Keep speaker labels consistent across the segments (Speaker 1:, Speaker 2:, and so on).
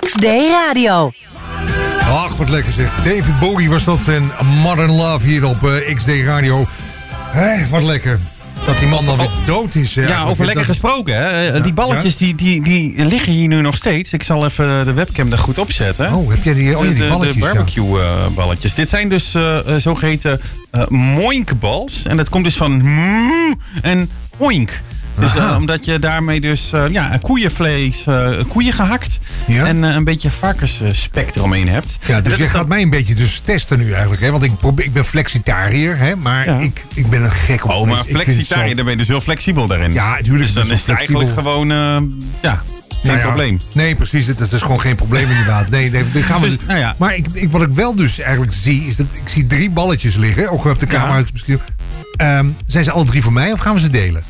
Speaker 1: XD Radio.
Speaker 2: Ach, wat lekker zeg. David Bowie was dat en Modern Love hier op eh, XD Radio. Hé, wat lekker. Dat die man dan weer dood is. hè.
Speaker 3: Ja, over
Speaker 2: Dat-
Speaker 3: lekker gesproken. Hè? Eh, Die balletjes die, die, die liggen hier nu nog steeds. Ik zal even de webcam er goed opzetten.
Speaker 2: Oh, heb jij die, oh, ja,
Speaker 3: De-
Speaker 2: die
Speaker 3: de,
Speaker 2: balletjes? ja.
Speaker 3: barbecue eh, balletjes. Dit zijn dus eh, eh, zogeheten eh moinkbals. En dat komt dus van mm en oink. Dus eh,
Speaker 2: Aha.
Speaker 3: omdat je daarmee dus eh, ja, koeienvlees, eh, koeien gehakt
Speaker 2: Ja.
Speaker 3: en eh, een beetje varkensspek eromheen hebt.
Speaker 2: Ja, dus
Speaker 3: Dat
Speaker 2: je
Speaker 3: is dan-
Speaker 2: gaat mij een beetje dus testen nu eigenlijk. Hè? Want ik, probeer, ik ben flexitariër, hè? maar
Speaker 3: Ja.
Speaker 2: ik, ik ben een gek op
Speaker 3: Oh,
Speaker 2: vlees.
Speaker 3: maar
Speaker 2: Ik vind het zo-
Speaker 3: flexitariër, dan ben je dus heel flexibel daarin.
Speaker 2: Ja, natuurlijk
Speaker 3: Dus
Speaker 2: ben
Speaker 3: dan
Speaker 2: ik
Speaker 3: is het
Speaker 2: wel
Speaker 3: eigenlijk
Speaker 2: flexibel.
Speaker 3: gewoon, eh, ja, geen
Speaker 2: Nou ja,
Speaker 3: probleem.
Speaker 2: Nee, precies. Het het is gewoon geen probleem inderdaad. Nee, nee, dit gaan we
Speaker 3: Dus,
Speaker 2: niet-
Speaker 3: nou ja.
Speaker 2: Maar ik, ik, wat ik wel dus eigenlijk zie, is dat ik zie drie balletjes liggen. Ook op de camera. is het Misschien. Ehm, zijn ze alle drie voor mij of gaan we ze delen?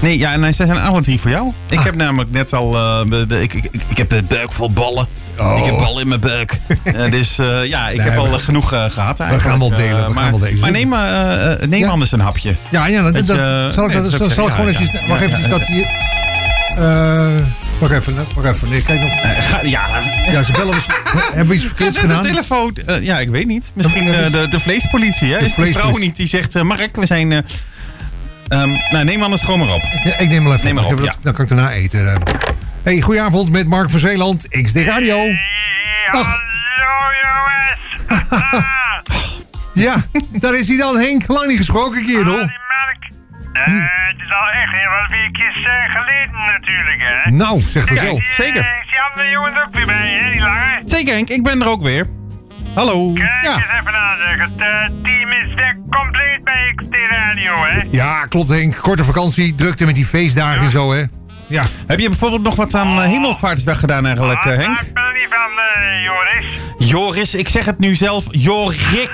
Speaker 3: Nee, ja, en zij zijn alle drie voor jou. Ik
Speaker 2: Ah.
Speaker 3: heb namelijk net al. eh, de, ik, ik, ik heb de buik vol ballen.
Speaker 2: Oh.
Speaker 3: Ik heb ballen in mijn buik. Eh, dus eh, ja, ik
Speaker 2: Nee,
Speaker 3: heb al
Speaker 2: we-
Speaker 3: eh, genoeg eh, gehad eigenlijk.
Speaker 2: gaan wel delen,
Speaker 3: Eh,
Speaker 2: we gaan
Speaker 3: maar,
Speaker 2: wel delen.
Speaker 3: Maar neem, eh, eh, neem
Speaker 2: Ja.
Speaker 3: anders een hapje.
Speaker 2: Ja, ja. Dat,
Speaker 3: Dat
Speaker 2: dat-
Speaker 3: je-
Speaker 2: zal ik,
Speaker 3: nee,
Speaker 2: dat,
Speaker 3: dat
Speaker 2: zal,
Speaker 3: zou
Speaker 2: zal ik
Speaker 3: ik
Speaker 2: gewoon
Speaker 3: zeggen,
Speaker 2: eventjes...
Speaker 3: ja.
Speaker 2: Wacht
Speaker 3: Ja,
Speaker 2: even,
Speaker 3: ja,
Speaker 2: dat hier... Eh, wacht even, hè, wacht even. Nee, kijk nog.
Speaker 3: Eh, ga, ja,
Speaker 2: Ja, ze bellen ons. Hebben we iets
Speaker 3: Gaat
Speaker 2: verkeerds
Speaker 3: het de
Speaker 2: gedaan?
Speaker 3: telefoon? eh, ja, ik weet niet. Misschien
Speaker 2: Dat- dat
Speaker 3: eh,
Speaker 2: is-
Speaker 3: de, de vleespolitie, hè?
Speaker 2: De
Speaker 3: is het de vrouw
Speaker 2: vleespolitie.
Speaker 3: niet die zegt: eh, Mark, we zijn. eh, ehm, nou, neem anders gewoon maar op.
Speaker 2: Ja, ik neem wel even
Speaker 3: Neem maar
Speaker 2: op. Ik
Speaker 3: op,
Speaker 2: heb dat- Dan kan ik daarna eten. eh. Hey, goedenavond met Mark van Zeeland, XD Radio. Dag.
Speaker 4: Hallo jongens. Ah,
Speaker 2: Ja, daar is hij dan, Henk. Lang niet gesproken, kerel.
Speaker 4: die melk. Eh, het is al echt heel wat vier keer eh, geleden natuurlijk, hè?
Speaker 2: Nou, zegt dat wel.
Speaker 3: Kijk. zeker.
Speaker 4: Eh, Is die andere jongen er ook weer bij, hè? Die lange?
Speaker 3: Zeker, Henk, ik ben er ook weer. Hallo.
Speaker 4: Kijk
Speaker 3: Ja.
Speaker 4: eens even aan, zeg. Het eh, team is weer compleet bij XT Radio, hè?
Speaker 2: Ja, klopt Henk. Korte vakantie, drukte met die feestdagen en zo, hè. Ja.
Speaker 3: Heb je bijvoorbeeld nog wat aan eh, Hemelvaartsdag gedaan eigenlijk, eh,
Speaker 4: Ah,
Speaker 3: Henk?
Speaker 4: Ik ben er niet van, eh, Joris.
Speaker 3: Joris, ik zeg het nu zelf, Jorik.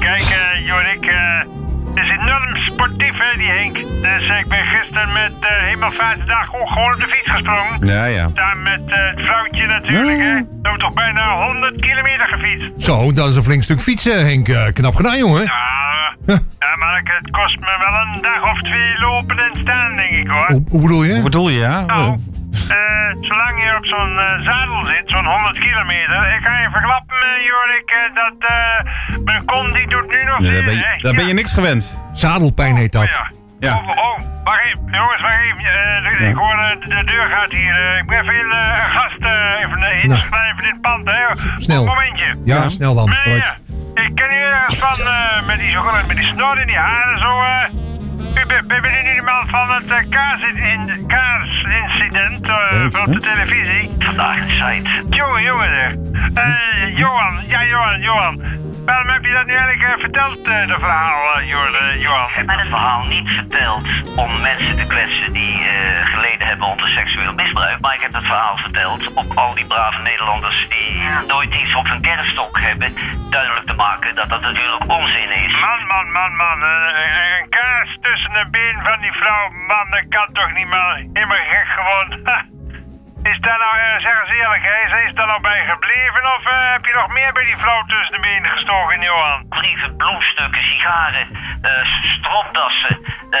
Speaker 4: Kijk, eh, Jorik, eh, het is enorm sportief, hè, die Henk. Dus eh, ik ben gisteren met eh Hemelvaartsdag ook gewoon op de fiets gesprongen.
Speaker 3: Ja, ja.
Speaker 4: Daar met eh, het vrouwtje natuurlijk,
Speaker 3: Ja.
Speaker 4: hè. We hebben toch bijna 100 kilometer gefietst.
Speaker 2: Zo, dat is een flink stuk fietsen, Henk. Eh, knap gedaan, jongen.
Speaker 4: Ja,
Speaker 2: Huh.
Speaker 4: eh, ja, maar ik- het kost me wel een dag of twee lopen en staan, denk ik, hoor.
Speaker 2: Hoe, hoe bedoel je?
Speaker 3: Wat bedoel je, ja?
Speaker 4: Nou, eh, zolang je op zo'n eh, zadel zit, zo'n 100 kilometer, ik ga je verklappen, eh, Jorik, eh, dat eh, mijn kont die doet nu nog
Speaker 3: Ja, daar
Speaker 4: zeer,
Speaker 3: ben je,
Speaker 4: hè.
Speaker 3: daar ben je
Speaker 4: Ja.
Speaker 3: niks gewend.
Speaker 2: Zadelpijn heet dat.
Speaker 4: Ja.
Speaker 3: Ja.
Speaker 4: Oh, oh, wacht even. Jongens, wacht even. Eh,
Speaker 3: Ja.
Speaker 4: Ik hoor eh, de, de deur gaat hier. Eh, ik ben even eh, een gast eh, even eh, inschrijven in het pand, hè.
Speaker 2: Snel.
Speaker 4: Een momentje.
Speaker 2: Ja,
Speaker 3: Ja.
Speaker 2: snel dan. vooruit.
Speaker 4: Meneer, eh, ik ken u ergens van eh, met, die, zo- met die snor in die haren zo. eh. u bent ben bent nu de man van het eh, kaars, in, kaarsincident eh,
Speaker 3: Thanks,
Speaker 4: op de televisie. Vandaag de site. Jongen, jongen. zeg. Eh, Johan, ja Johan, Johan. Waarom heb je dat nu eigenlijk eh, verteld, eh dat verhaal, eh, Jor- eh, Johan?
Speaker 5: Ik heb het verhaal niet verteld om mensen te kwetsen die eh, geleden hebben onder seksueel misbruik. Maar ik heb het verhaal verteld om al die brave Nederlanders die nooit iets op hun kerfstok hebben, duidelijk te maken dat dat natuurlijk onzin is.
Speaker 4: Man, man, man, man. eh, een kaars tussen de been van die vrouw. Man, dat kan toch niet, man. Helemaal gek gewoon. Ha. Is daar nou, eh, zeg eens eerlijk, hè, is daar nou bij gebleven? Of eh, heb je nog meer bij die vrouw tussen de benen gestoken, Johan?
Speaker 5: Brieven, bloemstukken, sigaren, eh stropdassen, eh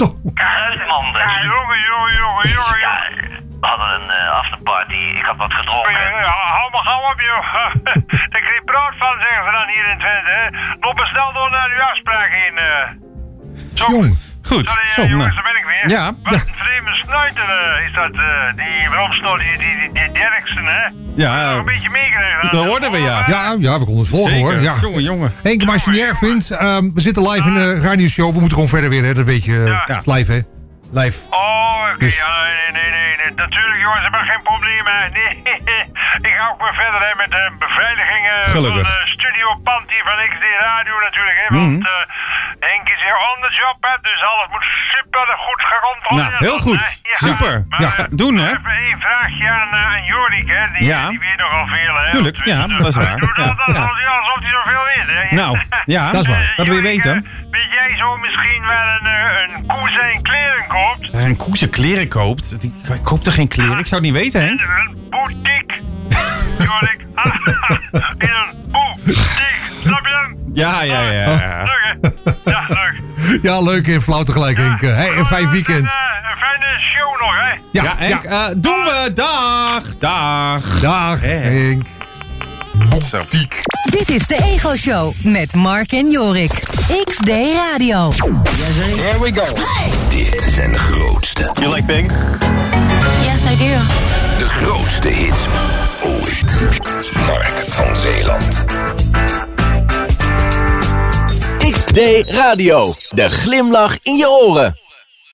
Speaker 2: Zo.
Speaker 5: kruidmanden.
Speaker 4: Ja, jongen, jongen, jongen, jongen.
Speaker 5: Ja,
Speaker 4: jongen.
Speaker 5: we hadden een eh, afterparty, ik had wat gedronken.
Speaker 4: Ja, Hou maar gauw op, joh. Daar kreeg brood van, zeggen ze dan hier in Twente. hè. Loop maar snel door naar uw afspraak heen. eh. Zo.
Speaker 2: Jong.
Speaker 3: Goed.
Speaker 4: Sorry, eh,
Speaker 3: Zo, nou.
Speaker 4: jongens, daar ben ik weer.
Speaker 3: Ja.
Speaker 4: Wat een vreemde snuiter eh, is dat. eh, die roomsnor, die, die, die, die Derksen, hè?
Speaker 3: Ja,
Speaker 4: Nog een beetje meegekregen.
Speaker 3: dat Oh. hoorden we, ja.
Speaker 2: Ja, ja, we konden het volgen, hoor. Ja.
Speaker 3: Jongen, jongen.
Speaker 2: Henk, maar als je het niet erg vindt, ehm, we zitten live in de radioshow. We moeten gewoon verder weer, hè. Dat weet je. eh,
Speaker 4: Ja.
Speaker 2: het is Live, hè. Live.
Speaker 4: Oh, oké.
Speaker 2: Dus-
Speaker 4: Ja, nee, nee, nee, nee. Natuurlijk, jongens, hebben we geen probleem, hè. Nee. ik ga ook weer verder hè, met de beveiliging eh, van
Speaker 3: Gelukkig. Mhm.
Speaker 4: de studiopand hier van XD Radio natuurlijk, hè. Want eh, Henk is hier on the job, hè. Dus alles moet super goed gecontroleerd
Speaker 3: Nou, heel
Speaker 4: worden,
Speaker 3: goed.
Speaker 4: hè. Ja.
Speaker 3: Super.
Speaker 4: Maar,
Speaker 3: Ja,
Speaker 4: eh,
Speaker 3: doen, hè.
Speaker 4: Even één vraagje aan, eh, aan Jorik, hè. Die,
Speaker 3: Ja.
Speaker 4: die weet nogal veel, hè.
Speaker 3: Tuurlijk,
Speaker 4: Want, eh,
Speaker 3: ja, dat is waar.
Speaker 4: Doe dat
Speaker 3: Ja, ja.
Speaker 4: alsof hij- alsof hij zoveel weet, hè.
Speaker 3: Nou, ja.
Speaker 2: Dat is waar.
Speaker 4: Eh,
Speaker 3: Wat wil je
Speaker 4: Jorik,
Speaker 3: weten?
Speaker 4: eh, Weet jij zo misschien waar een, eh, een koe zijn kleren koopt?
Speaker 3: Als je een koe zijn kleren koopt, die- ik koop er geen kleren. Ik zou het niet weten,
Speaker 4: In
Speaker 3: Henk.
Speaker 4: een boutique. Jorik. In een boutique. Snap je hem?
Speaker 3: Ja, ja, ja.
Speaker 4: Leuk, hè? Ja, leuk.
Speaker 2: Ja, leuk en flauw tegelijk, Henk. Eh, Hey, en fijn
Speaker 4: Goed,
Speaker 2: weekend.
Speaker 4: eh, Een fijne show nog, hè?
Speaker 3: Ja, Henk. eh, doen we. Dag. Dag.
Speaker 2: Dag,
Speaker 3: Hè.
Speaker 2: Henk.
Speaker 3: Zo.
Speaker 1: Dit is de Ego Show met Mark en Jorik. XD Radio.
Speaker 6: Dit zijn de grootste.
Speaker 7: You like Bing?
Speaker 8: Yes, I do.
Speaker 6: De grootste hit ooit. Mark van Zeeland. XD Radio. De glimlach in je oren.